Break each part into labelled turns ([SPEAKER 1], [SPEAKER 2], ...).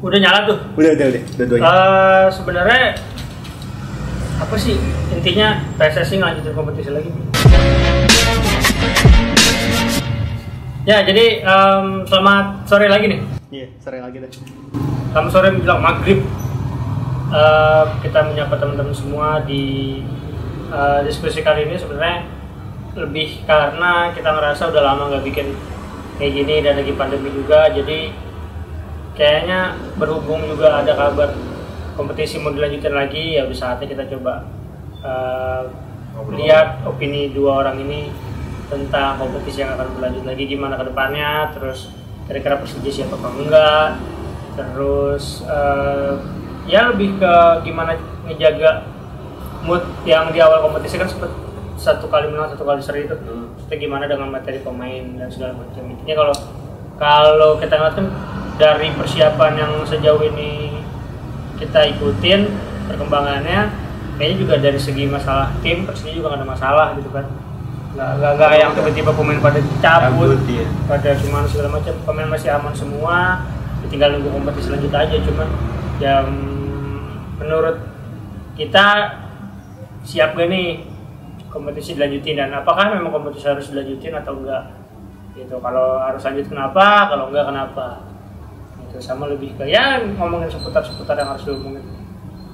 [SPEAKER 1] udah nyala tuh
[SPEAKER 2] Udah, udah, udah. Dua-duanya.
[SPEAKER 1] Eh, sebenarnya apa sih intinya PSSI ngelanjutin kompetisi lagi ya jadi em, selamat sore lagi nih
[SPEAKER 2] Iya, sore lagi deh.
[SPEAKER 1] Selamat sore menjelang maghrib Eh, kita menyapa teman-teman semua di eh, diskusi kali ini sebenarnya lebih karena kita ngerasa udah lama nggak bikin kayak gini dan lagi pandemi juga jadi kayaknya berhubung juga ada kabar kompetisi mau dilanjutin lagi ya udah saatnya kita coba eh,
[SPEAKER 3] Ngobrol.
[SPEAKER 1] lihat opini dua orang ini tentang kompetisi yang akan berlanjut lagi gimana ke depannya terus kira-kira Persija siapa apa enggak terus eh, ya lebih ke gimana ngejaga mood yang di awal kompetisi kan sempet satu kali menang satu kali seri itu
[SPEAKER 3] Hmm.
[SPEAKER 1] kita gimana dengan materi pemain dan segala macam intinya kalau kalau kita ngeliat kan dari persiapan yang sejauh ini kita ikutin perkembangannya kayaknya juga dari segi masalah tim Persija juga nggak ada masalah gitu kan nggak nggak nggak yang tiba-tiba pemain pada cabut
[SPEAKER 3] Cabut, iya.
[SPEAKER 1] pada gimana segala macam pemain masih aman semua tinggal nunggu kompetisi lanjut aja cuman yang menurut kita siap gak nih kompetisi dilanjutin dan apakah memang kompetisi harus dilanjutin atau enggak gitu kalau harus lanjut kenapa kalau enggak kenapa itu sama lebih ke ya ngomongin seputar seputar yang harus diomongin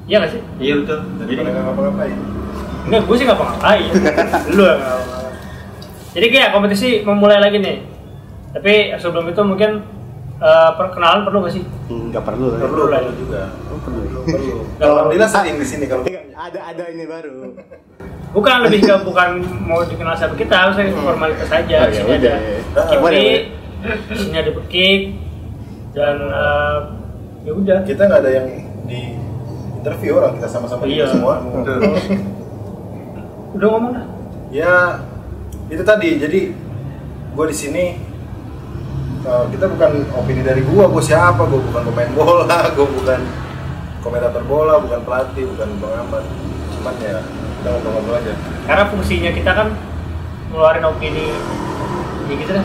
[SPEAKER 1] iya gak sih
[SPEAKER 3] Iya betul. Jadi
[SPEAKER 4] Daripada nggak ngapa-ngapain.
[SPEAKER 1] enggak gue sih ngapa-ngapain lu yang ngapa-ngapain jadi kayak kompetisi memulai lagi nih tapi sebelum itu mungkin eh, perkenalan perlu gak sih
[SPEAKER 2] Enggak perlu lah. ya.
[SPEAKER 4] Perlu lah juga.
[SPEAKER 2] Oh, perlu.
[SPEAKER 4] Perlu. Alhamdulillah saling di sini kalau
[SPEAKER 2] Tapi nggak- Iya, Ada ada ini baru.
[SPEAKER 1] bukan lebih ke bukan mau dikenal sama kita saya formalitas aja
[SPEAKER 2] Oh,
[SPEAKER 1] Iya,
[SPEAKER 2] ya
[SPEAKER 1] sini ada
[SPEAKER 2] udah.
[SPEAKER 1] Kipri,
[SPEAKER 2] Boleh, boleh.
[SPEAKER 1] sini ada Bekik dan eh, ya udah
[SPEAKER 4] kita nggak ada yang di interview orang kita sama-sama
[SPEAKER 1] Iya.
[SPEAKER 4] kita semua.
[SPEAKER 3] Betul.
[SPEAKER 1] udah ngomong dah
[SPEAKER 4] Ya itu tadi jadi gue di sini uh, kita bukan opini dari gua, gua siapa, gua bukan pemain bola, gua bukan komentator bola, bukan pelatih, bukan pengamat. Cuman ya kita ngobrol-ngobrol aja.
[SPEAKER 1] karena fungsinya kita kan ngeluarin opini ya gitu dah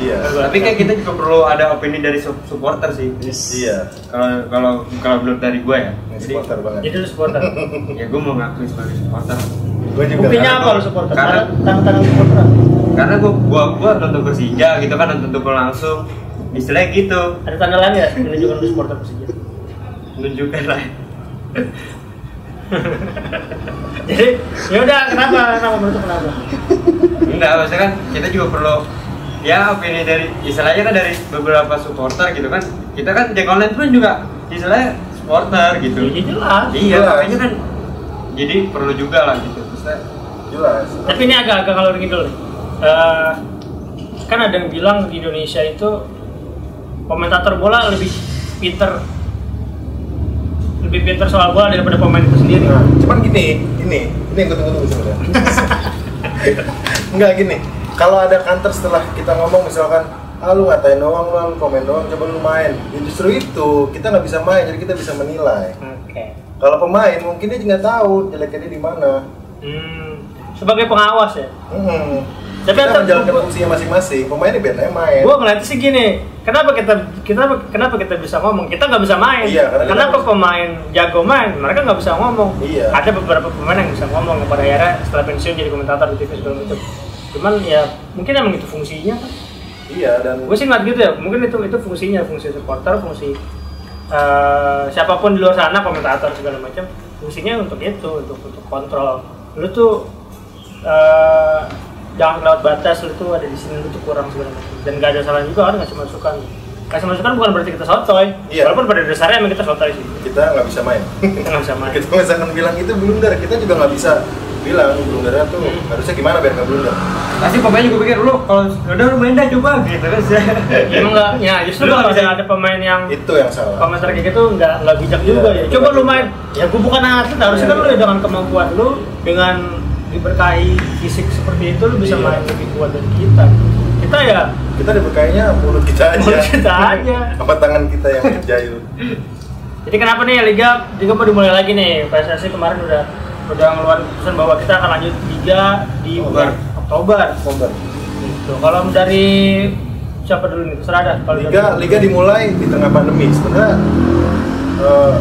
[SPEAKER 4] Iya.
[SPEAKER 3] tapi kayak kita juga perlu ada opini dari sup- supporter sih.
[SPEAKER 4] Iya.
[SPEAKER 3] Kalau kalau kalau menurut dari gue ya.
[SPEAKER 4] Ini
[SPEAKER 3] Jadi
[SPEAKER 4] supporter banget.
[SPEAKER 1] jadi lu supporter
[SPEAKER 3] ya gue mau ngakui sebagai supporter.
[SPEAKER 4] Gua juga.
[SPEAKER 1] buktinya apa lu supporter
[SPEAKER 3] Karena-
[SPEAKER 1] tangan-tangan supporter apa?
[SPEAKER 3] Karena gue gua gua nonton Persija gitu kan nonton tukul langsung. Istilahnya gitu.
[SPEAKER 1] ada tanda lain nggak menunjukkan lu supporter Persija
[SPEAKER 3] Menunjukkan lah.
[SPEAKER 1] jadi ya udah kenapa kenapa menurut lu kenapa
[SPEAKER 3] Enggak, maksudnya kan kita juga perlu ya opini dari istilahnya kan dari beberapa supporter gitu kan. Kita kan Jack Online pun juga istilahnya supporter gitu.
[SPEAKER 1] ya jelas
[SPEAKER 3] Iya,
[SPEAKER 4] Jelas.
[SPEAKER 3] makanya kan jadi perlu juga lah gitu. Maksudnya,
[SPEAKER 4] Jelas.
[SPEAKER 1] Tapi ini agak-agak kalau gitu loh. Eh, kan ada yang bilang di Indonesia itu komentator bola lebih pinter lebih pinter soal bola daripada pemain itu sendiri.
[SPEAKER 4] Nah, cuman gini, ini, ini yang gue tunggu-tunggu sebenarnya. Enggak gini, kalau ada counter setelah kita ngomong misalkan, ah lu ngatain doang, lu, lu komen doang, coba lu main. Ya justru itu, kita nggak bisa main, jadi kita bisa menilai.
[SPEAKER 1] Oke.
[SPEAKER 4] Kalau pemain mungkin dia nggak tahu jeleknya dia di mana.
[SPEAKER 1] Hmm, sebagai pengawas ya.
[SPEAKER 4] Hmm.
[SPEAKER 1] Tapi
[SPEAKER 4] kita
[SPEAKER 1] antar-
[SPEAKER 4] menjalankan fungsinya masing-masing. Pemainnya biarnya main.
[SPEAKER 1] Gua ngeliat sih gini, kenapa kita kita kenapa kita bisa ngomong? Kita nggak bisa main.
[SPEAKER 4] Iya, karena kita
[SPEAKER 1] kenapa
[SPEAKER 4] nggak bisa.
[SPEAKER 1] pemain jago main? Mereka nggak bisa ngomong.
[SPEAKER 4] Iya.
[SPEAKER 1] Ada beberapa pemain yang bisa ngomong pada akhirnya setelah pensiun jadi komentator di TV segala macam. Cuman ya mungkin emang itu fungsinya kan.
[SPEAKER 4] Iya dan
[SPEAKER 1] gue sih ngeliat gitu ya mungkin itu itu fungsinya fungsi supporter fungsi eh, siapapun di luar sana komentator segala macam fungsinya untuk itu untuk untuk kontrol lu tuh eh, jangan lewat batas lu tuh ada di sini lu tuh kurang segala macam dan gak ada salah juga orang ngasih masukan kasih masukan bukan berarti kita sotoy
[SPEAKER 4] Iya.
[SPEAKER 1] walaupun pada dasarnya emang kita sotoy sih
[SPEAKER 4] kita nggak bisa main.
[SPEAKER 1] kita nggak bisa main
[SPEAKER 4] kita misalkan bilang itu belum dar, kita juga nggak bisa bilang belum dar tuh
[SPEAKER 1] Hmm.
[SPEAKER 4] harusnya gimana biar nggak belum dar.
[SPEAKER 3] pasti pemain juga pikir lu kalau udah lu main dah coba gitu kan.
[SPEAKER 1] Ya, emang nggak ya justru
[SPEAKER 3] Lu
[SPEAKER 1] kalau
[SPEAKER 3] nggak bisa-
[SPEAKER 1] ada pemain yang
[SPEAKER 4] Itu yang salah.
[SPEAKER 1] komentar kayak gitu nggak nggak bijak juga
[SPEAKER 4] Iya,
[SPEAKER 1] ya. Coba
[SPEAKER 4] betul.
[SPEAKER 1] lu main. Ya gue bukan atlet, harusnya
[SPEAKER 4] Iya,
[SPEAKER 1] kan lu
[SPEAKER 4] iya.
[SPEAKER 1] ya dengan kemampuan lu dengan diberkahi fisik seperti itu lu bisa
[SPEAKER 4] Iya.
[SPEAKER 1] main lebih kuat dari kita. Kita ya
[SPEAKER 4] kita diberkainya mulut kita aja
[SPEAKER 1] Mulut kita aja.
[SPEAKER 4] apa tangan kita yang jahil
[SPEAKER 1] jadi kenapa nih liga liga mau dimulai lagi nih PSSI kemarin udah udah ngeluarin keputusan bahwa kita akan lanjut liga di
[SPEAKER 3] Oktober.
[SPEAKER 1] Oktober.
[SPEAKER 4] Kombar
[SPEAKER 1] Gitu. Kalau dari siapa dulu nih terserah dah kalau
[SPEAKER 4] Liga
[SPEAKER 1] dari-
[SPEAKER 4] Liga dimulai di tengah pandemi sebenarnya eh,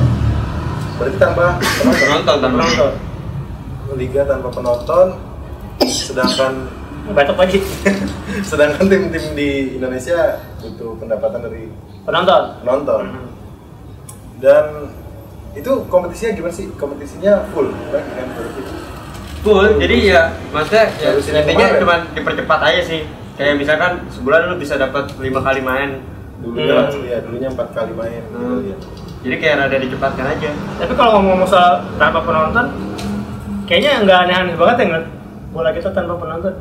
[SPEAKER 4] berarti tambah
[SPEAKER 3] Penonton, tambah.
[SPEAKER 4] penonton. Liga tanpa penonton sedangkan
[SPEAKER 1] batuk lagi
[SPEAKER 4] sedangkan tim-tim di Indonesia butuh pendapatan dari
[SPEAKER 1] penonton
[SPEAKER 4] penonton dan itu kompetisinya gimana sih kompetisinya full kan dengan berarti
[SPEAKER 3] Full, jadi ya maksudnya ya,
[SPEAKER 4] Baru sini
[SPEAKER 3] intinya
[SPEAKER 4] kemarin.
[SPEAKER 3] cuma dipercepat aja sih. Kayak misalkan sebulan lu bisa dapat lima kali main.
[SPEAKER 4] dulunya
[SPEAKER 1] Hmm.
[SPEAKER 4] ya dulunya empat kali main gitu
[SPEAKER 3] Hmm.
[SPEAKER 4] ya
[SPEAKER 3] Jadi kayak rada dicepatkan aja.
[SPEAKER 1] tapi kalau ngomong soal tanpa penonton kayaknya nggak aneh-aneh banget ya ngeliat bola kita tanpa penonton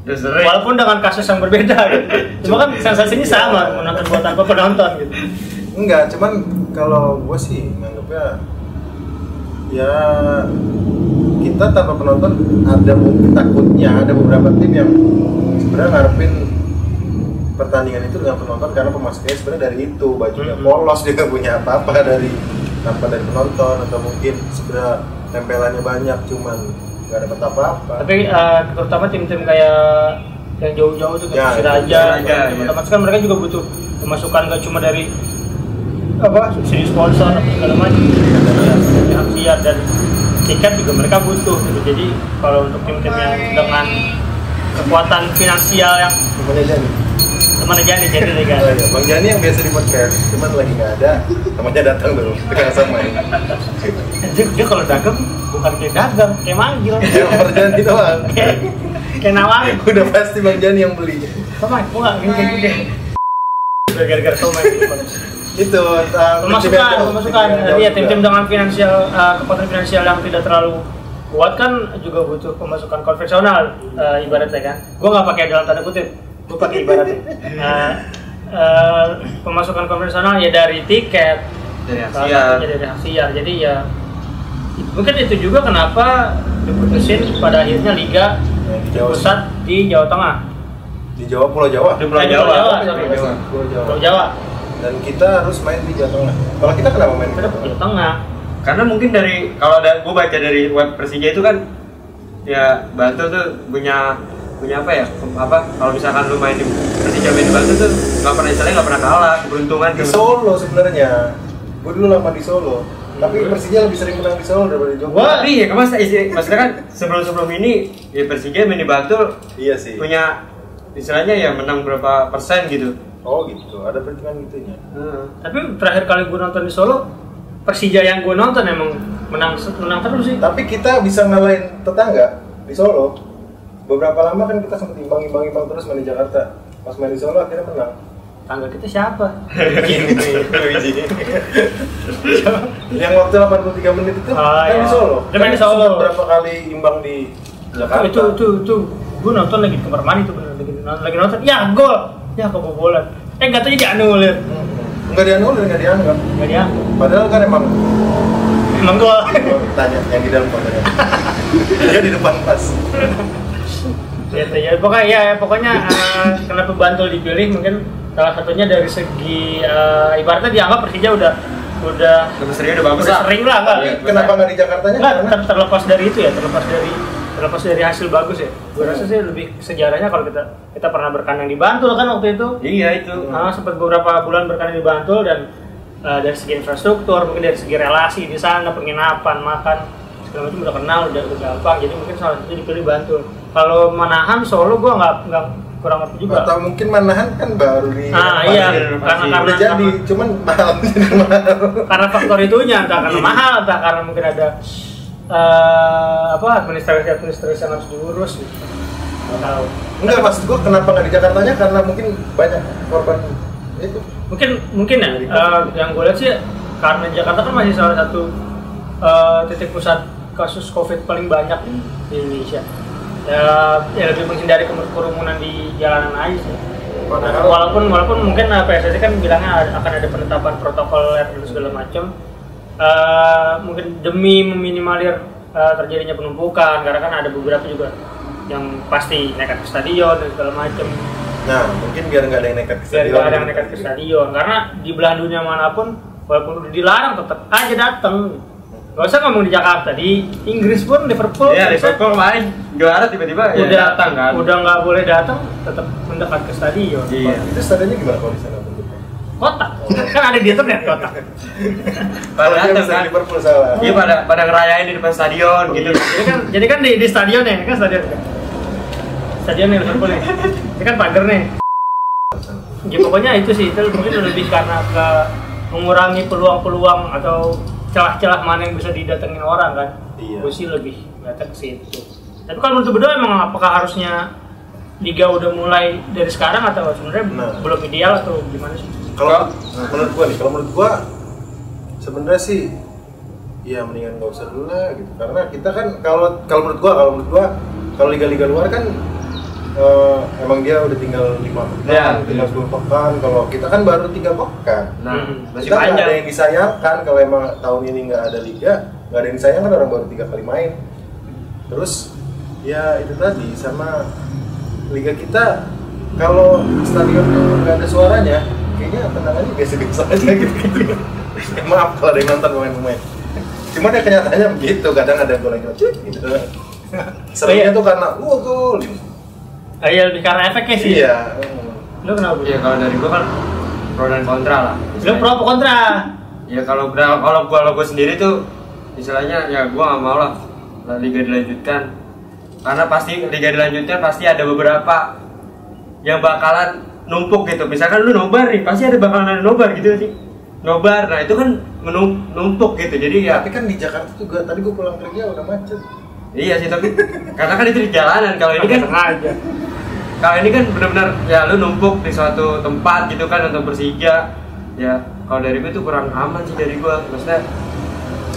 [SPEAKER 3] Udah sering.
[SPEAKER 1] walaupun dengan kasus yang berbeda gitu. cuma kan sensasinya sama menonton bola tanpa penonton gitu
[SPEAKER 4] Enggak, cuman kalau gue sih nganggapnya ya kita tanpa penonton ada mungkin takutnya ada beberapa tim yang sebenarnya ngarepin pertandingan itu dengan penonton karena pemasukannya sebenarnya dari itu bajunya
[SPEAKER 1] Mhm.
[SPEAKER 4] polos dia nggak punya apa-apa dari tanpa dari penonton atau mungkin sebenarnya tempelannya banyak cuman nggak dapat apa-apa
[SPEAKER 1] tapi eh, terutama tim-tim kayak yang jauh-jauh itu
[SPEAKER 4] Ya,
[SPEAKER 1] kayak Siraja,
[SPEAKER 3] Persiraja, ya.
[SPEAKER 1] teman-teman kan mereka juga butuh pemasukan nggak cuma dari apa subsidi sponsor apa segala macam dari hadiah dan tiket juga mereka butuh gitu. jadi kalau untuk tim-tim yang dengan kekuatan finansial yang
[SPEAKER 4] temennya Jani
[SPEAKER 1] teman aja nih jadi liga
[SPEAKER 4] Oh iya, Bang Jani yang biasa di podcast cuman lagi nggak ada temennya datang dulu kita sama ya
[SPEAKER 1] dia, dia kalau dagang bukan kayak dagang kayak manggil
[SPEAKER 4] Iya, perjalanan gitu bang.
[SPEAKER 1] kayak kayak nawarin
[SPEAKER 4] Udah pasti Bang Jani yang beli.
[SPEAKER 1] sama aku nggak gini kayak gini gara-gara sama
[SPEAKER 4] Itu uh, tim
[SPEAKER 1] pemasukan
[SPEAKER 4] yang jauh,
[SPEAKER 1] pemasukan
[SPEAKER 4] tim yang jauh
[SPEAKER 1] iya
[SPEAKER 4] juga.
[SPEAKER 1] tim-tim dengan finansial eh, kekuatan finansial yang tidak terlalu kuat kan juga butuh pemasukan konvensional eh, ibaratnya kan gue nggak pakai dalam tanda kutip gue pakai ibaratnya Eh, eh, pemasukan konvensional ya dari tiket
[SPEAKER 3] Dari
[SPEAKER 1] salah
[SPEAKER 3] Asia.
[SPEAKER 1] satunya dari hasiar jadi ya mungkin itu juga kenapa diputusin pada akhirnya liga
[SPEAKER 4] Yang di Jawa
[SPEAKER 1] pusat di Jawa Tengah
[SPEAKER 4] di Jawa Pulau Jawa.
[SPEAKER 3] Di Pulau
[SPEAKER 1] Di
[SPEAKER 3] Jawa.
[SPEAKER 1] Pulau Jawa,
[SPEAKER 3] Pulau
[SPEAKER 1] sorry.
[SPEAKER 3] Jawa.
[SPEAKER 4] Pulau Jawa.
[SPEAKER 1] Pulau Jawa
[SPEAKER 4] Dan kita harus main di Jawa Tengah. Kalau kita kenapa main di
[SPEAKER 1] kita
[SPEAKER 4] Jawa
[SPEAKER 1] Jawa
[SPEAKER 4] Tengah?
[SPEAKER 1] Tengah
[SPEAKER 3] Karena mungkin dari kalau ada gue baca dari web Persija itu kan ya Bantul tuh punya punya apa ya apa kalau misalkan lu main di Persija main di Bantul tuh nggak pernah istilahnya nggak pernah kalah keberuntungan
[SPEAKER 4] Di
[SPEAKER 3] gitu.
[SPEAKER 4] Solo sebenarnya. Gue dulu lama di Solo. Tapi
[SPEAKER 1] Hmm.
[SPEAKER 4] Persija lebih sering menang di Solo daripada di Jawa.
[SPEAKER 1] Wah.
[SPEAKER 3] Tapi ya mas, isi- maksudnya kan sebelum sebelum ini ya Persija main di Bantul
[SPEAKER 4] Iya sih.
[SPEAKER 3] punya istilahnya ya menang berapa persen gitu.
[SPEAKER 4] Oh gitu, ada perhitungan gitunya.
[SPEAKER 1] Tapi terakhir kali gue nonton di Solo, Persija yang gue nonton emang menang menang terus sih.
[SPEAKER 4] Tapi kita bisa ngalahin tetangga di Solo. Beberapa lama kan kita sempat imbang-imbang-imbang terus main di Jakarta. Pas main di Solo akhirnya menang.
[SPEAKER 1] Tangga kita siapa?
[SPEAKER 4] Gini nih, Luigi. yang waktu 83 menit itu
[SPEAKER 1] Ah,
[SPEAKER 4] kan
[SPEAKER 1] iya.
[SPEAKER 4] di Solo.
[SPEAKER 1] Dia main di
[SPEAKER 4] Kan
[SPEAKER 1] Solo.
[SPEAKER 4] Berapa kali imbang di Jakarta?
[SPEAKER 1] itu itu itu gue nonton lagi di kamar mandi tuh bener lagi nonton, lagi nonton. Ya gol, ya kebobolan. Eh nggak tahu jadi anulir.
[SPEAKER 4] Hmm. Nggak dianulir, nggak dianggap.
[SPEAKER 1] Gak dia,
[SPEAKER 4] Padahal kan emang
[SPEAKER 1] emang gol.
[SPEAKER 4] tanya yang di dalam kontanya. Dia di depan pas.
[SPEAKER 1] gitu ya pokoknya ya pokoknya eh, kenapa Bantul dipilih mungkin salah satunya dari segi eh, ibaratnya dianggap Persija udah udah
[SPEAKER 3] Terus serius udah bagus
[SPEAKER 1] udah
[SPEAKER 3] lah.
[SPEAKER 1] sering lah nggak?
[SPEAKER 3] Iya.
[SPEAKER 4] Kenapa nggak di Jakartanya?
[SPEAKER 1] Ah, Nggak,
[SPEAKER 4] Karena
[SPEAKER 1] ter- terlepas dari itu ya, terlepas dari terlepas dari hasil bagus ya. Gue rasa sih lebih sejarahnya kalau kita kita pernah berkandang di Bantul kan waktu itu.
[SPEAKER 3] Iya itu.
[SPEAKER 1] Ah, sempat beberapa bulan berkandang di Bantul dan eh, dari segi infrastruktur, mungkin dari segi relasi di sana, penginapan, makan segala macam udah kenal, udah udah gampang. Jadi mungkin salah satu dipilih Bantul. Kalau menahan Solo gue nggak nggak kurang ngerti juga.
[SPEAKER 4] atau mungkin Manahan kan baru di
[SPEAKER 1] Ah
[SPEAKER 4] Pas-
[SPEAKER 1] iya,
[SPEAKER 3] Pasti,
[SPEAKER 1] karena
[SPEAKER 3] pasti.
[SPEAKER 1] karena
[SPEAKER 4] udah jadi, cuman mahal jadi mahal.
[SPEAKER 1] karena faktor itunya entah karena mahal entah karena mungkin ada eh, apa administrasi administrasi yang harus diurus gitu Nggak tahu
[SPEAKER 4] Enggak maksud gua kenapa nggak di Jakartanya karena mungkin banyak korban itu.
[SPEAKER 1] mungkin mungkin ya eh, yang gue lihat sih karena Jakarta kan masih salah satu eh, titik pusat kasus COVID paling banyak di Indonesia ya, ya lebih menghindari kerum- kerumunan di jalanan aja sih
[SPEAKER 4] Padahal-
[SPEAKER 1] walaupun walaupun mungkin eh, PSSI kan bilangnya ada- akan ada penetapan protokol dan segala macam Eh, mungkin demi meminimalir eh, terjadinya penumpukan karena kan ada beberapa juga yang pasti nekat ke stadion dan segala macam
[SPEAKER 4] Nah, mungkin biar nggak ada yang nekat ke
[SPEAKER 1] biar
[SPEAKER 3] Iya,
[SPEAKER 4] stadion. gitu.
[SPEAKER 1] nggak ada yang nekat ke stadion karena di belahan dunia manapun walaupun udah dilarang tetap aja datang gak usah ngomong di Jakarta di Inggris pun Liverpool
[SPEAKER 3] Iya
[SPEAKER 1] Inggris
[SPEAKER 3] Liverpool kemarin juara tiba-tiba ya
[SPEAKER 1] udah
[SPEAKER 3] datang kan.
[SPEAKER 1] udah nggak boleh datang tetap men- dekat ke stadion.
[SPEAKER 3] Iya.
[SPEAKER 4] Itu stadionnya gimana kalau di sana bentuknya?
[SPEAKER 1] Kotak. kan ada di internet kotak.
[SPEAKER 4] Kalau
[SPEAKER 3] Pada
[SPEAKER 4] dia
[SPEAKER 3] datang
[SPEAKER 4] misalnya
[SPEAKER 3] kan.
[SPEAKER 4] Liverpool salah.
[SPEAKER 3] Iya pada pada ngerayain di depan stadion gitu.
[SPEAKER 1] Jadi kan jadi kan di, di stadion ya, kan stadion. Stadion nih Liverpool nih. Ini kan pagar nih. Ya pokoknya itu sih, itu mungkin lebih karena ke mengurangi peluang-peluang atau celah-celah mana yang bisa didatengin orang kan.
[SPEAKER 2] Iya.
[SPEAKER 1] Gue sih lebih ngeliatnya ke situ. Tapi kalau menurut berdua emang apakah harusnya liga udah mulai dari sekarang atau sebenarnya
[SPEAKER 4] Nah.
[SPEAKER 1] belum ideal atau gimana sih?
[SPEAKER 4] Kalau nah, menurut gua nih, kalau menurut gua sebenarnya sih ya mendingan nggak usah dulu lah gitu. Karena kita kan kalau kalau menurut gua, kalau menurut gua kalau liga-liga luar kan eh, emang dia udah tinggal lima pekan,
[SPEAKER 3] Iya,
[SPEAKER 4] tinggal sepuluh pekan. Kalau kita kan baru tiga pekan.
[SPEAKER 3] Nah,
[SPEAKER 1] Hmm.
[SPEAKER 3] masih
[SPEAKER 4] kita nggak ada
[SPEAKER 3] panjang.
[SPEAKER 4] yang disayangkan kalau emang tahun ini nggak ada liga nggak ada yang disayangkan orang baru tiga kali main terus ya itu tadi sama liga kita kalau stadion tuh nggak ada suaranya kayaknya tendangannya biasa-biasa aja gitu gitu ya, maaf kalau ada yang nonton pemain-pemain cuman ya kenyataannya begitu kadang ada bola yang cut gitu serunya tuh karena uh gol
[SPEAKER 1] Ah, iya lebih karena efeknya sih.
[SPEAKER 4] iya
[SPEAKER 1] Lu kenapa?
[SPEAKER 3] Iya
[SPEAKER 1] Bud?
[SPEAKER 3] kalau dari gua kan pro dan kontra lah.
[SPEAKER 1] Lu pro apa kontra?
[SPEAKER 3] Ya kalau kalau gua kalau gua sendiri tuh istilahnya ya gua nggak mau lah lah liga dilanjutkan karena pasti liga dilanjutkan pasti ada beberapa yang bakalan numpuk gitu misalkan lu nobar nih pasti ada bakalan ada nobar gitu sih nobar nah itu kan menum- numpuk gitu jadi ya
[SPEAKER 4] tapi kan di Jakarta juga tadi gue pulang kerja udah macet
[SPEAKER 3] iya sih tapi karena kan itu di jalanan kalau ini kan
[SPEAKER 1] sengaja.
[SPEAKER 3] kalau ini kan benar-benar ya lu numpuk di suatu tempat gitu kan untuk bersija ya kalau dari gue tuh kurang aman sih dari gue maksudnya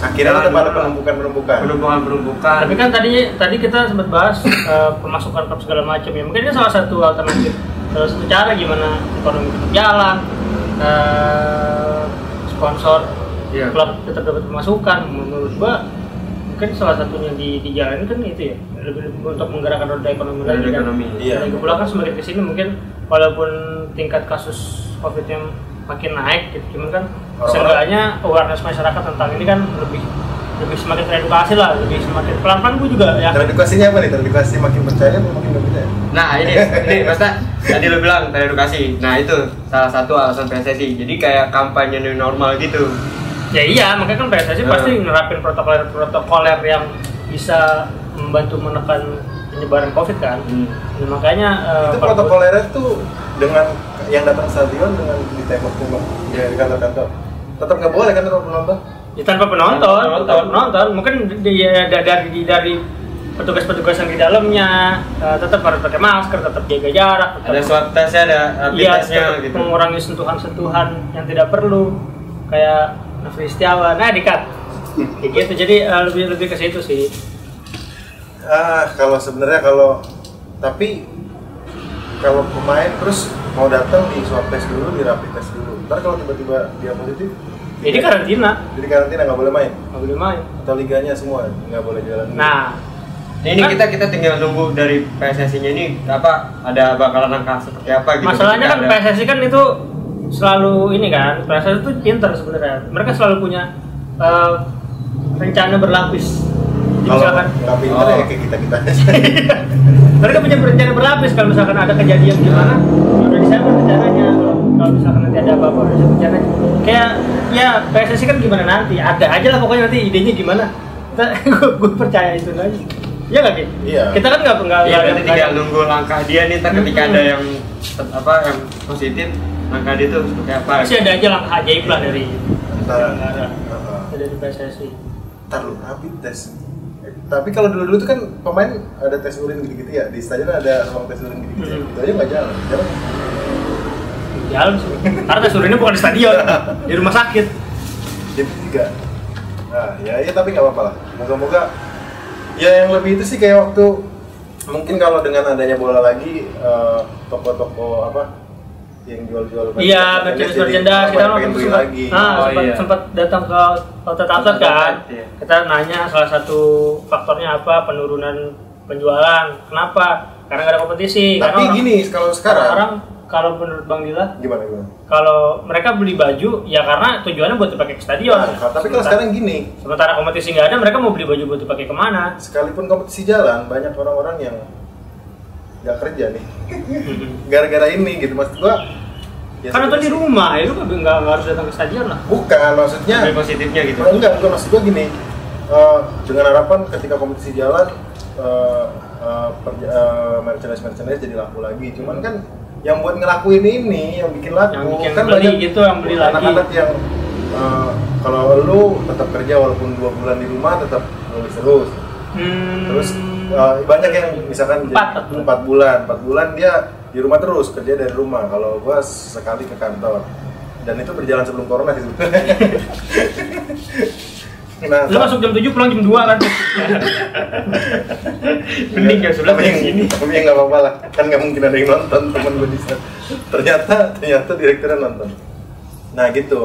[SPEAKER 4] akhirnya
[SPEAKER 3] Jangan
[SPEAKER 4] ada pada
[SPEAKER 3] dulu lah.
[SPEAKER 4] penumpukan-penumpukan
[SPEAKER 3] penumpukan penumpukan
[SPEAKER 1] Tapi kan tadi tadi kita sempat bahas eh, pemasukan klub segala macam ya. Mungkin ini salah satu alternatif, salah satu cara gimana ekonomi tetap jalan, eh, sponsor
[SPEAKER 3] Iya.
[SPEAKER 1] klub tetap dapat pemasukan. Menurut gua mungkin salah satunya di dijalani kan itu ya lebih lebih untuk menggerakkan roda ekonomi
[SPEAKER 3] Roda
[SPEAKER 1] lagi kan.
[SPEAKER 3] ekonomi,
[SPEAKER 4] iya.
[SPEAKER 1] Lagi pula kan semakin kesini mungkin walaupun tingkat kasus covid yang makin naik gitu, cuman kan
[SPEAKER 4] Orang-orang-
[SPEAKER 1] seenggaknya awareness masyarakat tentang ini kan lebih lebih semakin teredukasi lah, lebih semakin pelan-pelan gue juga ya.
[SPEAKER 4] Teredukasinya apa nih? Teredukasi makin percaya apa makin nggak percaya?
[SPEAKER 3] nah ini ini maksudnya tadi lu bilang teredukasi nah itu salah satu alasan PSSI jadi kayak kampanye new normal gitu
[SPEAKER 1] Ya iya, makanya kan PSSI
[SPEAKER 3] Ya.
[SPEAKER 1] pasti nerapin protokol-protokoler yang bisa membantu menekan penyebaran COVID kan.
[SPEAKER 3] Hmm.
[SPEAKER 1] Nah, makanya eh,
[SPEAKER 4] Itu
[SPEAKER 1] kalau-
[SPEAKER 4] protokolernya tuh dengan yang datang stadion dengan di tembok rumah ya, di kantor-kantor. Tetap nggak boleh kan tetap penonton?
[SPEAKER 1] ya, tanpa penonton,
[SPEAKER 3] Tanpa penonton.
[SPEAKER 1] tanpa penonton. Mungkin di- di- ya, da- dari di- dari petugas-petugas yang di dalamnya eh, tetap harus pakai masker, tetap jaga jarak, tetap
[SPEAKER 3] ada swab testnya ada rapid
[SPEAKER 1] iya,
[SPEAKER 3] testnya
[SPEAKER 1] tetap
[SPEAKER 3] gitu
[SPEAKER 1] mengurangi sentuhan-sentuhan yang tidak perlu kayak Nafri Setiawan, nah dikat ya gitu, jadi eh, lebih lebih ke situ sih
[SPEAKER 4] Ah, kalau sebenarnya kalau tapi kalau pemain terus mau datang di swab test dulu, di rapid test dulu. Ntar kalau tiba-tiba dia positif,
[SPEAKER 1] jadi Ya,
[SPEAKER 3] Iya.
[SPEAKER 1] karantina,
[SPEAKER 4] jadi karantina nggak boleh main
[SPEAKER 1] nggak boleh main
[SPEAKER 4] atau liganya semua nggak boleh jalan.
[SPEAKER 1] nah,
[SPEAKER 3] Nah, ini
[SPEAKER 1] Kan-
[SPEAKER 3] Iya. kita kita tinggal nunggu dari PSSI-nya ini apa ada bakalan angka seperti apa gitu.
[SPEAKER 1] Masalahnya kan
[SPEAKER 3] Jika ada-
[SPEAKER 1] PSSI kan itu selalu ini kan, PSSI itu pinter sebenarnya. Mereka selalu punya eh, rencana berlapis. Jadi
[SPEAKER 4] kalau
[SPEAKER 1] misalkan
[SPEAKER 4] nggak pinter ya
[SPEAKER 3] Oh.
[SPEAKER 4] kayak kita kita aja.
[SPEAKER 1] mereka punya rencana berlapis kalau misalkan ada kejadian di mana udah disiapkan rencananya. Kalau- Kalau misalkan nanti ada apa-apa udah disiapkan rencananya. Kayak ya PSSI kan gimana nanti? Ada aja lah pokoknya nanti idenya gimana. Gue percaya itu lagi. Iya nggak Ki?
[SPEAKER 4] Iya.
[SPEAKER 1] Kita kan nggak nggak
[SPEAKER 3] Iya
[SPEAKER 1] nggak-
[SPEAKER 3] berarti
[SPEAKER 1] nggak-
[SPEAKER 3] tinggal nunggu langkah dia nih ntar ketika ada yang apa yang positif langkah dia tuh seperti apa. gitu.
[SPEAKER 1] Pasti ada aja langkah ajaib lah dari
[SPEAKER 4] Ntar, ah,
[SPEAKER 1] penyelenggara,
[SPEAKER 4] Heeh.
[SPEAKER 1] dari PSSI.
[SPEAKER 4] Ntar lu rapid test. Eh, Tapi kalau dulu-dulu tuh kan pemain ada tes urin gitu-gitu ya. Di stadion ada ruang tes urin gitu-gitu. ya.
[SPEAKER 1] Hmm.
[SPEAKER 4] Itu aja nggak jalan. Jalan.
[SPEAKER 1] Jalan sih. Karena tes urinnya bukan di stadion, di rumah sakit.
[SPEAKER 4] Jadi tiga. Nah, ya, ya tapi nggak apa-apa lah. Moga-moga ya yang lebih itu sih kayak waktu mungkin kalau dengan adanya bola lagi eh, toko-toko apa yang jual-jual
[SPEAKER 1] Iya, merchandise merchandise kita
[SPEAKER 4] kita
[SPEAKER 1] waktu
[SPEAKER 4] pengen
[SPEAKER 1] itu
[SPEAKER 4] beli
[SPEAKER 1] sempat,
[SPEAKER 4] lagi.
[SPEAKER 1] nah,
[SPEAKER 3] Oh,
[SPEAKER 1] sempat,
[SPEAKER 3] iya.
[SPEAKER 1] sempat datang ke outlet outlet kan.
[SPEAKER 3] Outlet, iya.
[SPEAKER 1] Kita nanya salah satu faktornya apa penurunan penjualan. Kenapa? Karena nggak ada kompetisi.
[SPEAKER 4] tapi
[SPEAKER 1] Karena orang-
[SPEAKER 4] gini kalau sekarang
[SPEAKER 1] orang kalau menurut Bang Dila,
[SPEAKER 4] gimana gimana?
[SPEAKER 1] kalau mereka beli baju ya karena tujuannya buat dipakai ke stadion.
[SPEAKER 4] Nah, tapi kalau
[SPEAKER 1] Sementara-
[SPEAKER 4] sekarang gini,
[SPEAKER 1] sementara kompetisi nggak ada, mereka mau beli baju buat dipakai kemana?
[SPEAKER 4] sekalipun kompetisi jalan banyak orang-orang yang nggak kerja nih gara-gara ini gitu maksud gua ya
[SPEAKER 1] Kan nonton di
[SPEAKER 4] sebenarnya-
[SPEAKER 1] rumah ya, lu nggak nggak nggak harus datang ke stadion lah.
[SPEAKER 4] bukan maksudnya
[SPEAKER 3] Ambil positifnya gitu.
[SPEAKER 4] Nah, enggak, bukan maksud gue gini. eh, dengan harapan ketika kompetisi jalan, eh, eh, perja- eh, merchandise-merchandise jadi laku lagi. Cuman kan yang buat ngelakuin ini, yang bikin laku,
[SPEAKER 1] Yang bikin
[SPEAKER 4] kan
[SPEAKER 1] beli gitu, yang beli lagi.
[SPEAKER 4] anak-anak yang eh, kalau lu tetap kerja walaupun dua bulan di rumah tetap nulis terus.
[SPEAKER 1] Hmm.
[SPEAKER 4] Terus eh, banyak yang misalkan jadi
[SPEAKER 1] Empat.
[SPEAKER 4] empat bulan, empat bulan dia di rumah terus kerja dari rumah. Kalau gua sekali ke kantor dan itu berjalan sebelum corona sih sebenarnya. nah,
[SPEAKER 1] Lu masuk jam 7 pulang jam 2 kan.
[SPEAKER 3] Mending
[SPEAKER 1] ya
[SPEAKER 3] jam sebelas
[SPEAKER 4] tapi
[SPEAKER 3] dari sini.
[SPEAKER 4] Tapi ya iya. nggak apa-apa lah, kan nggak mungkin ada yang nonton teman gue di sana. Ternyata ternyata direkturnya nonton. Nah gitu.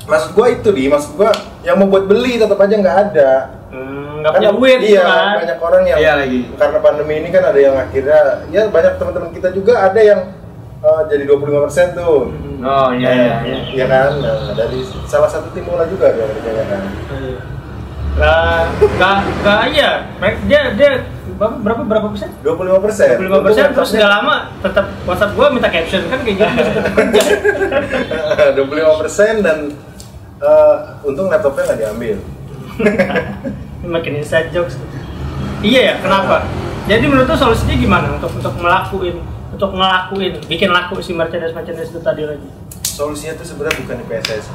[SPEAKER 4] Maksud gua itu di, maksud gua yang mau buat beli tetap aja nggak ada.
[SPEAKER 1] Hmm, nggak punya duit
[SPEAKER 4] iya,
[SPEAKER 1] kan.
[SPEAKER 4] banyak orang yang
[SPEAKER 3] Iya lagi.
[SPEAKER 4] karena pandemi ini kan ada yang akhirnya ya banyak teman-teman kita juga ada yang eh, jadi 25% tuh.
[SPEAKER 1] Hmm,
[SPEAKER 3] Oh iya iya. iya.
[SPEAKER 4] Iya kan? Nah, dari salah satu tim bola juga dia kerjanya kan.
[SPEAKER 1] Lah, nggak nggak aja. Mereka dia dia berapa berapa, berapa persen?
[SPEAKER 4] 25 persen.
[SPEAKER 1] 25 persen terus nggak lama tetap WhatsApp gua minta caption kan kayak gitu masih tetap kerja.
[SPEAKER 4] 25 persen dan eh, untung laptopnya nggak diambil.
[SPEAKER 1] Ini Makin inside jokes. Iya ya, kenapa? Jadi menurut lu solusinya gimana untuk untuk melakuin untuk ngelakuin bikin laku si merchandise merchandise itu tadi lagi
[SPEAKER 4] Solusinya tuh sebenarnya bukan di PSS.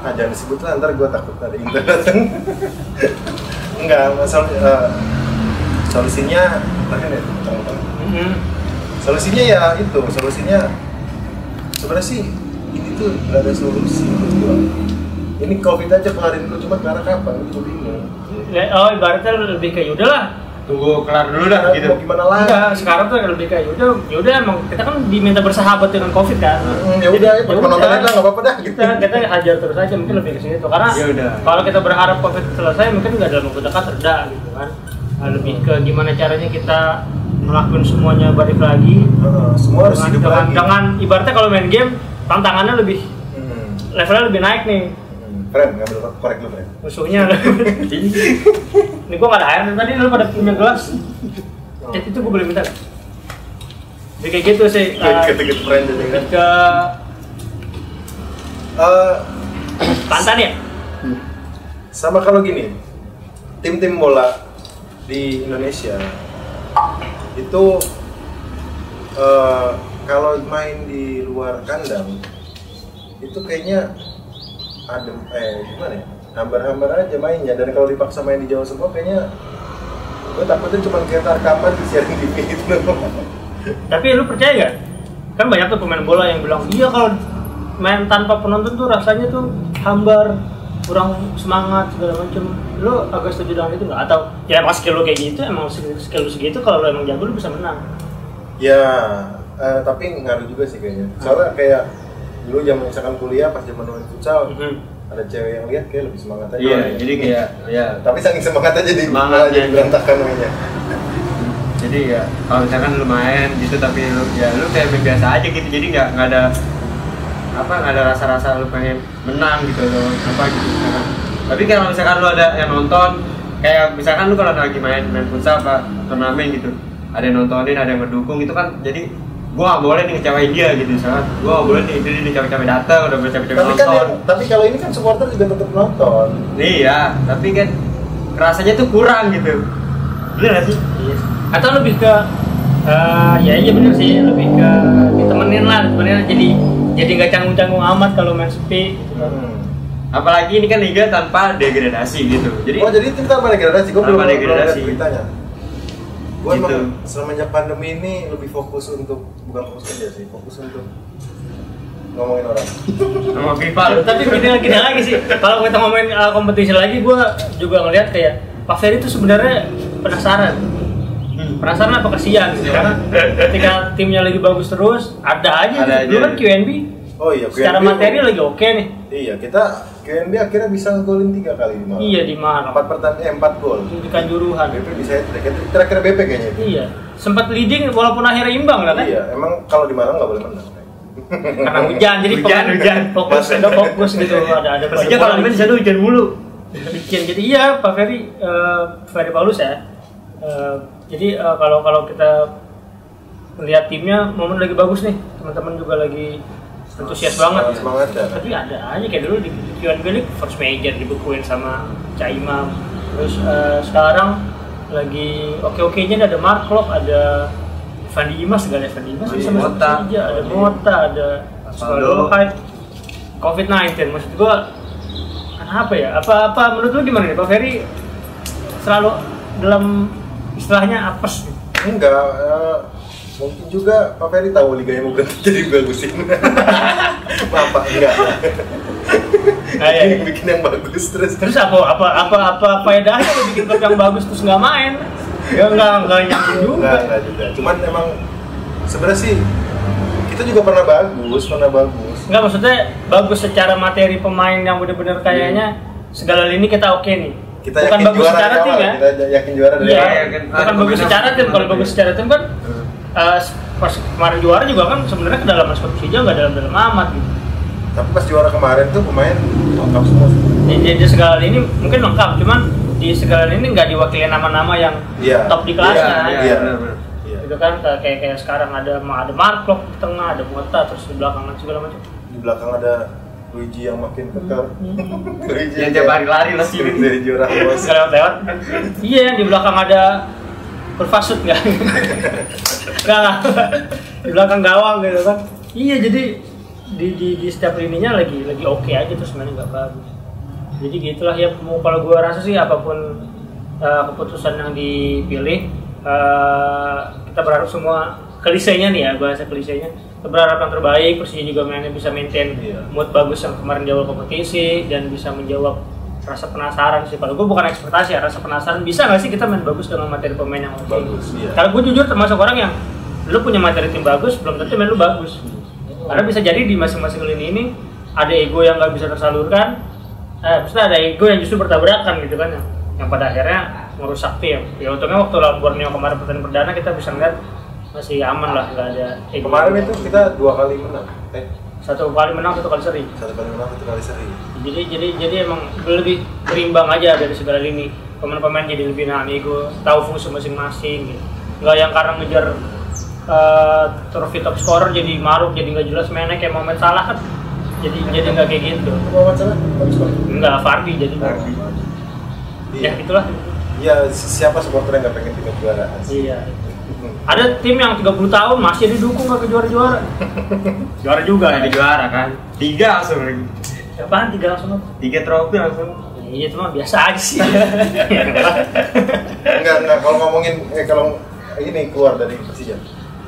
[SPEAKER 4] Ah, jangan disebut lah, ntar gue takut ada internet. Enggak, masalah eh, solusinya, tadi ya, tentang-
[SPEAKER 1] Mhm.
[SPEAKER 4] solusinya ya itu solusinya sebenarnya sih ini tuh gak ada solusi menurut gua ini covid aja kelarin dulu cuma karena kapan itu bingung
[SPEAKER 1] Ya, oh ibaratnya lebih ke yaudahlah
[SPEAKER 3] Tunggu kelar dulu dah
[SPEAKER 4] Karena
[SPEAKER 3] gitu.
[SPEAKER 4] mau gimana lagi
[SPEAKER 1] Enggak, sekarang tuh lebih kayak "Ya yaudah, yaudah emang kita kan diminta bersahabat dengan covid kan.
[SPEAKER 4] Hmm, ya udah, ya,
[SPEAKER 1] Jadi,
[SPEAKER 4] penonton
[SPEAKER 1] yaudah.
[SPEAKER 4] aja nggak apa-apa dah gitu.
[SPEAKER 1] Kita kita hajar terus aja mungkin lebih ke sini tuh karena
[SPEAKER 3] Ya udah.
[SPEAKER 1] kalau kita berharap covid selesai mungkin nggak dalam waktu dekat reda gitu kan. Nah, lebih ke gimana caranya kita melakukan semuanya balik lagi.
[SPEAKER 4] Heeh, semua harus
[SPEAKER 1] Dengan-
[SPEAKER 4] hidup
[SPEAKER 1] dengan,
[SPEAKER 4] lagi.
[SPEAKER 1] dengan ibaratnya kalau main game tantangannya lebih
[SPEAKER 4] Hmm.
[SPEAKER 1] levelnya lebih naik nih
[SPEAKER 4] Hmm. Friend, ngambil korek lu, friend.
[SPEAKER 1] musuhnya. Ini gua nggak ada air tadi lu pada punya gelas.
[SPEAKER 4] Oh.
[SPEAKER 1] Jadi itu gua boleh minta. nggak? Jadi kayak gitu sih.
[SPEAKER 4] Gua
[SPEAKER 1] eh,
[SPEAKER 4] Dikit-dikit friend jadi kan.
[SPEAKER 1] ke
[SPEAKER 4] Eh,
[SPEAKER 1] Tantan ya?
[SPEAKER 4] sama kalau gini, tim-tim bola di Indonesia itu eh, kalau main di luar kandang itu kayaknya adem eh gimana ya hambar-hambar aja mainnya dan kalau dipaksa main di Jawa semua kayaknya gue takutnya cuma kita rekaman di sharing TV gitu
[SPEAKER 1] Tapi lu percaya gak? Kan banyak tuh pemain bola yang bilang, iya kalau main tanpa penonton tuh rasanya tuh hambar, kurang semangat segala macam. Lu agak setuju dengan itu nggak? Atau ya emang skill lu kayak gitu, emang skill skill lu segitu kalau lu emang jago lu bisa menang.
[SPEAKER 4] ya eh, tapi ngaruh juga sih kayaknya soalnya kayak dulu zaman misalkan kuliah pas zaman main futsal ada cewek yang lihat kayak lebih semangat aja
[SPEAKER 3] Iya,
[SPEAKER 4] orangnya.
[SPEAKER 3] jadi kayak ya
[SPEAKER 4] tapi saking semangat ya. aja di
[SPEAKER 3] Semangat
[SPEAKER 4] malah jadi
[SPEAKER 3] aja.
[SPEAKER 4] berantakan mainnya
[SPEAKER 3] jadi ya kalau misalkan lu main gitu tapi lu ya lu kayak main biasa aja gitu jadi nggak nggak ada apa nggak ada rasa-rasa lu pengen menang gitu atau apa gitu misalkan. tapi kalau misalkan lu ada yang nonton kayak misalkan lu kalau lagi main main futsal apa turnamen gitu ada yang nontonin ada yang mendukung itu kan jadi gua nggak boleh nih ngecewain dia gitu misalkan gua nggak boleh nih itu dia capek-capek datang udah boleh capek-capek
[SPEAKER 4] tapi kan
[SPEAKER 3] nonton
[SPEAKER 4] yang- tapi kalau ini kan supporter juga tetap nonton
[SPEAKER 3] iya tapi kan rasanya tuh kurang gitu bener gak sih
[SPEAKER 1] Iya. Atau lebih ke eh, ya iya bener sih lebih ke ditemenin lah ditemenin lah. jadi jadi nggak canggung-canggung amat kalau main sepi gitu kan.
[SPEAKER 4] Hmm.
[SPEAKER 3] apalagi ini kan liga tanpa degradasi gitu jadi
[SPEAKER 4] oh jadi itu tanpa degradasi gue
[SPEAKER 3] Tanpa
[SPEAKER 4] belum belum lihat
[SPEAKER 3] degradasi.
[SPEAKER 4] beritanya gue
[SPEAKER 3] Gitu.
[SPEAKER 4] emang semenjak pandemi ini lebih fokus untuk bukan fokus kerja sih fokus untuk ngomongin orang
[SPEAKER 3] sama FIFA
[SPEAKER 1] Tapi- tapi gini lagi gini lagi sih kalau kita ngomongin uh, kompetisi lagi gue juga ngeliat kayak Pak Ferry itu sebenarnya penasaran
[SPEAKER 3] Hmm.
[SPEAKER 1] penasaran apa kesian gitu karena ketika timnya lagi bagus terus ada aja
[SPEAKER 3] Ada
[SPEAKER 1] gitu. dulu
[SPEAKER 3] aja.
[SPEAKER 1] kan QNB
[SPEAKER 4] oh iya
[SPEAKER 1] secara
[SPEAKER 4] QNB.
[SPEAKER 1] materi lagi oke nih
[SPEAKER 4] iya kita QNB akhirnya bisa ngegolin tiga kali di malam
[SPEAKER 1] iya di mana
[SPEAKER 4] empat pertandingan eh, empat gol
[SPEAKER 1] di kanjuruhan
[SPEAKER 4] BP bisa hat terakhir BP kayaknya itu
[SPEAKER 1] iya sempat leading walaupun akhirnya imbang lah kan
[SPEAKER 4] iya emang kalau di malam nggak boleh menang
[SPEAKER 1] karena hujan jadi
[SPEAKER 3] Hujan,
[SPEAKER 1] pemain
[SPEAKER 3] hujan.
[SPEAKER 1] fokus ada fokus gitu ada ada
[SPEAKER 3] Persija kalau main di sana hujan mulu
[SPEAKER 1] gitu. bikin jadi iya Pak Ferry eh, Ferry Paulus ya eh, Jadi eh, kalau kalau kita melihat timnya momen lagi bagus nih, teman-teman juga lagi antusias banget.
[SPEAKER 4] Antusias banget, ya.
[SPEAKER 1] Tapi ada aja kayak dulu di di Q1 League first major dibekuin sama Caimam. Terus eh, sekarang lagi oke-okenya ada Mark Klok, ada Van Dimas, segala Van Dimas bisa masuk
[SPEAKER 3] Mota.
[SPEAKER 1] Persija, ada Mota, ada Osvaldo,
[SPEAKER 3] Osvaldo.
[SPEAKER 1] Hai. COVID-19 maksud gua apa ya? Apa apa menurut lu gimana nih Pak Ferry? Selalu dalam istilahnya apes nih.
[SPEAKER 4] Enggak, eh, mungkin juga Pak Ferry tahu liga yang mau ganti jadi bagusin. Bapak enggak.
[SPEAKER 1] Nah, iya, iya.
[SPEAKER 4] bikin yang bagus terus.
[SPEAKER 1] Terus apa apa apa apa faedahnya lu bikin klub yang bagus terus nggak main? Ya nggak nggak nyambung juga.
[SPEAKER 4] Enggak, enggak juga. Cuman emang sebenarnya sih kita juga pernah bagus, pernah bagus.
[SPEAKER 1] Nggak maksudnya bagus secara materi pemain yang bener-bener kayaknya segala lini kita oke nih.
[SPEAKER 4] Kita
[SPEAKER 1] Bukan
[SPEAKER 4] yakin
[SPEAKER 1] bagus
[SPEAKER 4] juara
[SPEAKER 1] secara
[SPEAKER 4] dari
[SPEAKER 1] tim
[SPEAKER 4] awal,
[SPEAKER 1] ya.
[SPEAKER 4] Kita yakin juara dari
[SPEAKER 1] Iya,
[SPEAKER 4] awal.
[SPEAKER 3] yakin. Ah,
[SPEAKER 1] bukan
[SPEAKER 3] ada
[SPEAKER 1] bagus
[SPEAKER 3] pembedaan
[SPEAKER 1] secara tim. Kalau
[SPEAKER 3] pemain.
[SPEAKER 1] bagus secara tim kan
[SPEAKER 4] Hmm.
[SPEAKER 1] eh, pas kemarin juara juga kan sebenarnya kedalaman squad Persija nggak dalam-dalam amat gitu.
[SPEAKER 4] Tapi pas juara kemarin tuh pemain lengkap semua. sih.
[SPEAKER 1] Jadi di segala ini mungkin lengkap, cuman di segala ini nggak diwakili nama-nama yang
[SPEAKER 4] Iya.
[SPEAKER 1] top di kan. kelasnya.
[SPEAKER 3] Iya,
[SPEAKER 4] Iya.
[SPEAKER 3] benar-benar.
[SPEAKER 4] Iya.
[SPEAKER 1] Gitu kan kayak kayak kayak sekarang ada ada Marklock di tengah, ada Mota terus di belakang segala macam.
[SPEAKER 4] Di belakang ada Luigi yang makin kekar.
[SPEAKER 1] Hmm.
[SPEAKER 4] Luigi
[SPEAKER 3] Yang tiap hari lari lah.
[SPEAKER 4] Sulit dari juara bos.
[SPEAKER 1] Segala lewat. Iya, yang di belakang ada kan? Kurvasut nggak? Nggak nggak. Di belakang gawang gitu kan. Iya, jadi di, di, di setiap lininya lagi lagi oke aja terus sebenarnya nggak bagus. Jadi gitulah ya mau- kalau gua rasa sih apapun eh, keputusan yang dipilih eh, kita berharap semua klisenya nih ya bahasa klisenya kita berharap yang terbaik Persija juga mainnya bisa maintain
[SPEAKER 4] Iya.
[SPEAKER 1] mood bagus yang kemarin di awal kompetisi dan bisa menjawab rasa penasaran sih kalau gue bukan ekspektasi ya rasa penasaran bisa nggak sih kita main bagus dengan materi pemain yang oke
[SPEAKER 4] Bagus, iya.
[SPEAKER 1] kalau gue jujur termasuk orang yang lu punya materi tim bagus belum tentu main lu bagus karena bisa jadi di masing-masing lini ini ada ego yang nggak bisa tersalurkan eh maksudnya ada ego yang justru bertabrakan gitu kan yang, yang pada akhirnya merusak tim ya untungnya waktu lawan Borneo kemarin pertandingan perdana kita bisa ngeliat masih aman lah nggak ada ego
[SPEAKER 4] Kemarin itu kita dua kali menang. Eh,
[SPEAKER 1] satu kali menang satu kali seri
[SPEAKER 4] satu kali menang, satu kali seri.
[SPEAKER 1] jadi jadi jadi emang lebih berimbang aja dari segala lini pemain-pemain jadi lebih nahan ego tahu fungsi masing-masing gitu nggak yang karena ngejar eh, trofi top scorer jadi maruk jadi nggak jelas mainnya kayak Mohamed Salah kan jadi jadi nggak kayak gitu
[SPEAKER 4] Apa wawancara? Bagus banget.
[SPEAKER 1] nggak Fardi jadi
[SPEAKER 3] Fardi.
[SPEAKER 1] ya
[SPEAKER 4] Iya.
[SPEAKER 1] itulah
[SPEAKER 4] Iya, si- siapa supporter yang nggak pengen timnya juara? Hmm. asli.
[SPEAKER 1] iya ada tim yang 30 tahun masih didukung nggak ke juara-juara juara juga
[SPEAKER 3] Nah, di
[SPEAKER 1] ya
[SPEAKER 3] juara kan. Tiga langsung.
[SPEAKER 1] apaan tiga langsung apa?
[SPEAKER 3] Tiga trofi langsung.
[SPEAKER 1] Ya, iya cuma biasa aja sih
[SPEAKER 4] Enggak, enggak. Kalau ngomongin, eh kalau ini keluar dari Persija,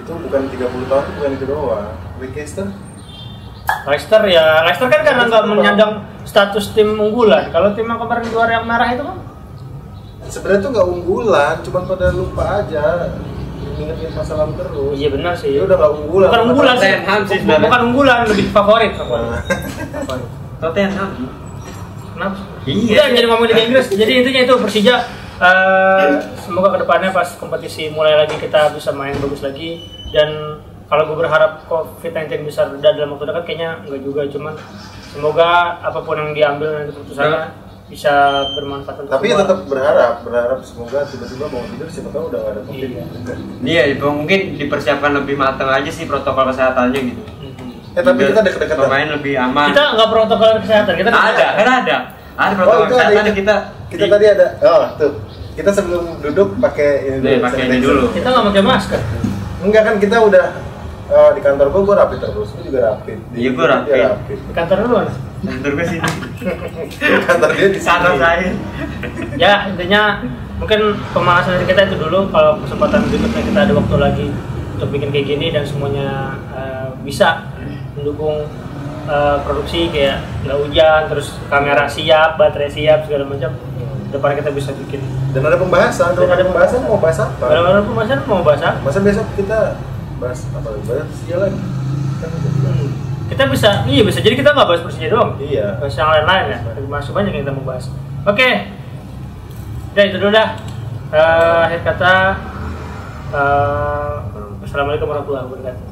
[SPEAKER 4] itu bukan 30 tahun, bukan itu doang. Leicester,
[SPEAKER 1] Leicester ya, Leicester kan karena nggak menyandang status tim unggulan. Kalau tim yang kemarin juara yang merah itu kan
[SPEAKER 4] sebenarnya tuh nggak unggulan, cuman pada lupa aja ingetin masa lalu terus.
[SPEAKER 1] iya benar sih.
[SPEAKER 4] Dia udah nggak unggulan.
[SPEAKER 1] bukan unggulan sih. Iya,
[SPEAKER 3] Tottenham sih
[SPEAKER 1] Bu-
[SPEAKER 3] sebenarnya.
[SPEAKER 1] bukan unggulan, lebih favorit. favorit.
[SPEAKER 4] Nah,
[SPEAKER 1] Favorit.
[SPEAKER 3] Tottenham.
[SPEAKER 1] Kenapa?
[SPEAKER 3] Iya.
[SPEAKER 1] Udah jadi ngomongin Liga Inggris. Jadi intinya itu Persija eh, semoga kedepannya pas kompetisi mulai lagi kita bisa main bagus lagi dan kalau gue berharap COVID-19 bisa reda dalam waktu dekat kayaknya nggak juga cuman semoga apapun yang diambil nanti keputusannya bisa bermanfaat untuk
[SPEAKER 4] tapi ya
[SPEAKER 1] semua.
[SPEAKER 4] tetap berharap, berharap semoga tiba-tiba mau tidur siapa tahu udah nggak ada covid.
[SPEAKER 1] Iya.
[SPEAKER 3] Iya, itu mungkin dipersiapkan lebih matang aja sih protokol kesehatannya gitu.
[SPEAKER 1] Mhm.
[SPEAKER 4] Eh tapi
[SPEAKER 3] Biar
[SPEAKER 4] kita deket-deket
[SPEAKER 3] Pemain lebih aman.
[SPEAKER 1] kita nggak protokol kesehatan kita
[SPEAKER 3] ada, kan ada. Ada
[SPEAKER 4] Oh
[SPEAKER 3] protokol
[SPEAKER 4] itu ada
[SPEAKER 3] kesehatan
[SPEAKER 4] ini.
[SPEAKER 3] kita.
[SPEAKER 4] kita tadi ada oh tuh kita sebelum duduk pakai
[SPEAKER 3] Nih, Iya, pakai ini
[SPEAKER 4] sanitizer.
[SPEAKER 3] dulu.
[SPEAKER 1] kita nggak pakai masker
[SPEAKER 4] enggak kan kita udah eh, di kantor gua gua rapid terus gua juga rapid Di-
[SPEAKER 3] Iya, gua
[SPEAKER 4] dia
[SPEAKER 3] rapid.
[SPEAKER 1] di kantor dulu kan?
[SPEAKER 3] Kantor gue sini.
[SPEAKER 4] kantor dia di sana
[SPEAKER 3] Kantor saya.
[SPEAKER 1] ya intinya mungkin pemanasan dari kita itu dulu kalau kesempatan berikutnya kita ada waktu lagi untuk bikin kayak gini dan semuanya eh, bisa mendukung eh, produksi kayak nggak hujan terus kamera siap baterai siap segala macam depan kita bisa bikin
[SPEAKER 4] dan ada pembahasan kalau
[SPEAKER 1] Dan
[SPEAKER 4] ada
[SPEAKER 1] ada
[SPEAKER 4] pembahasan mau bahas
[SPEAKER 1] kalau
[SPEAKER 4] apa
[SPEAKER 1] kalau pemanasan mau bahas apa?
[SPEAKER 4] masa besok kita bahas apa bahas dia lagi Kan udah bilang.
[SPEAKER 1] Hmm. kita bisa iya bisa jadi kita nggak bahas persija doang
[SPEAKER 4] iya
[SPEAKER 1] Bahas yang lain-lain ya, masuk banyak yang kita mau bahas. Oke, udah itu dulu dah. Eh, akhir kata, eh, Assalamualaikum warahmatullahi wabarakatuh.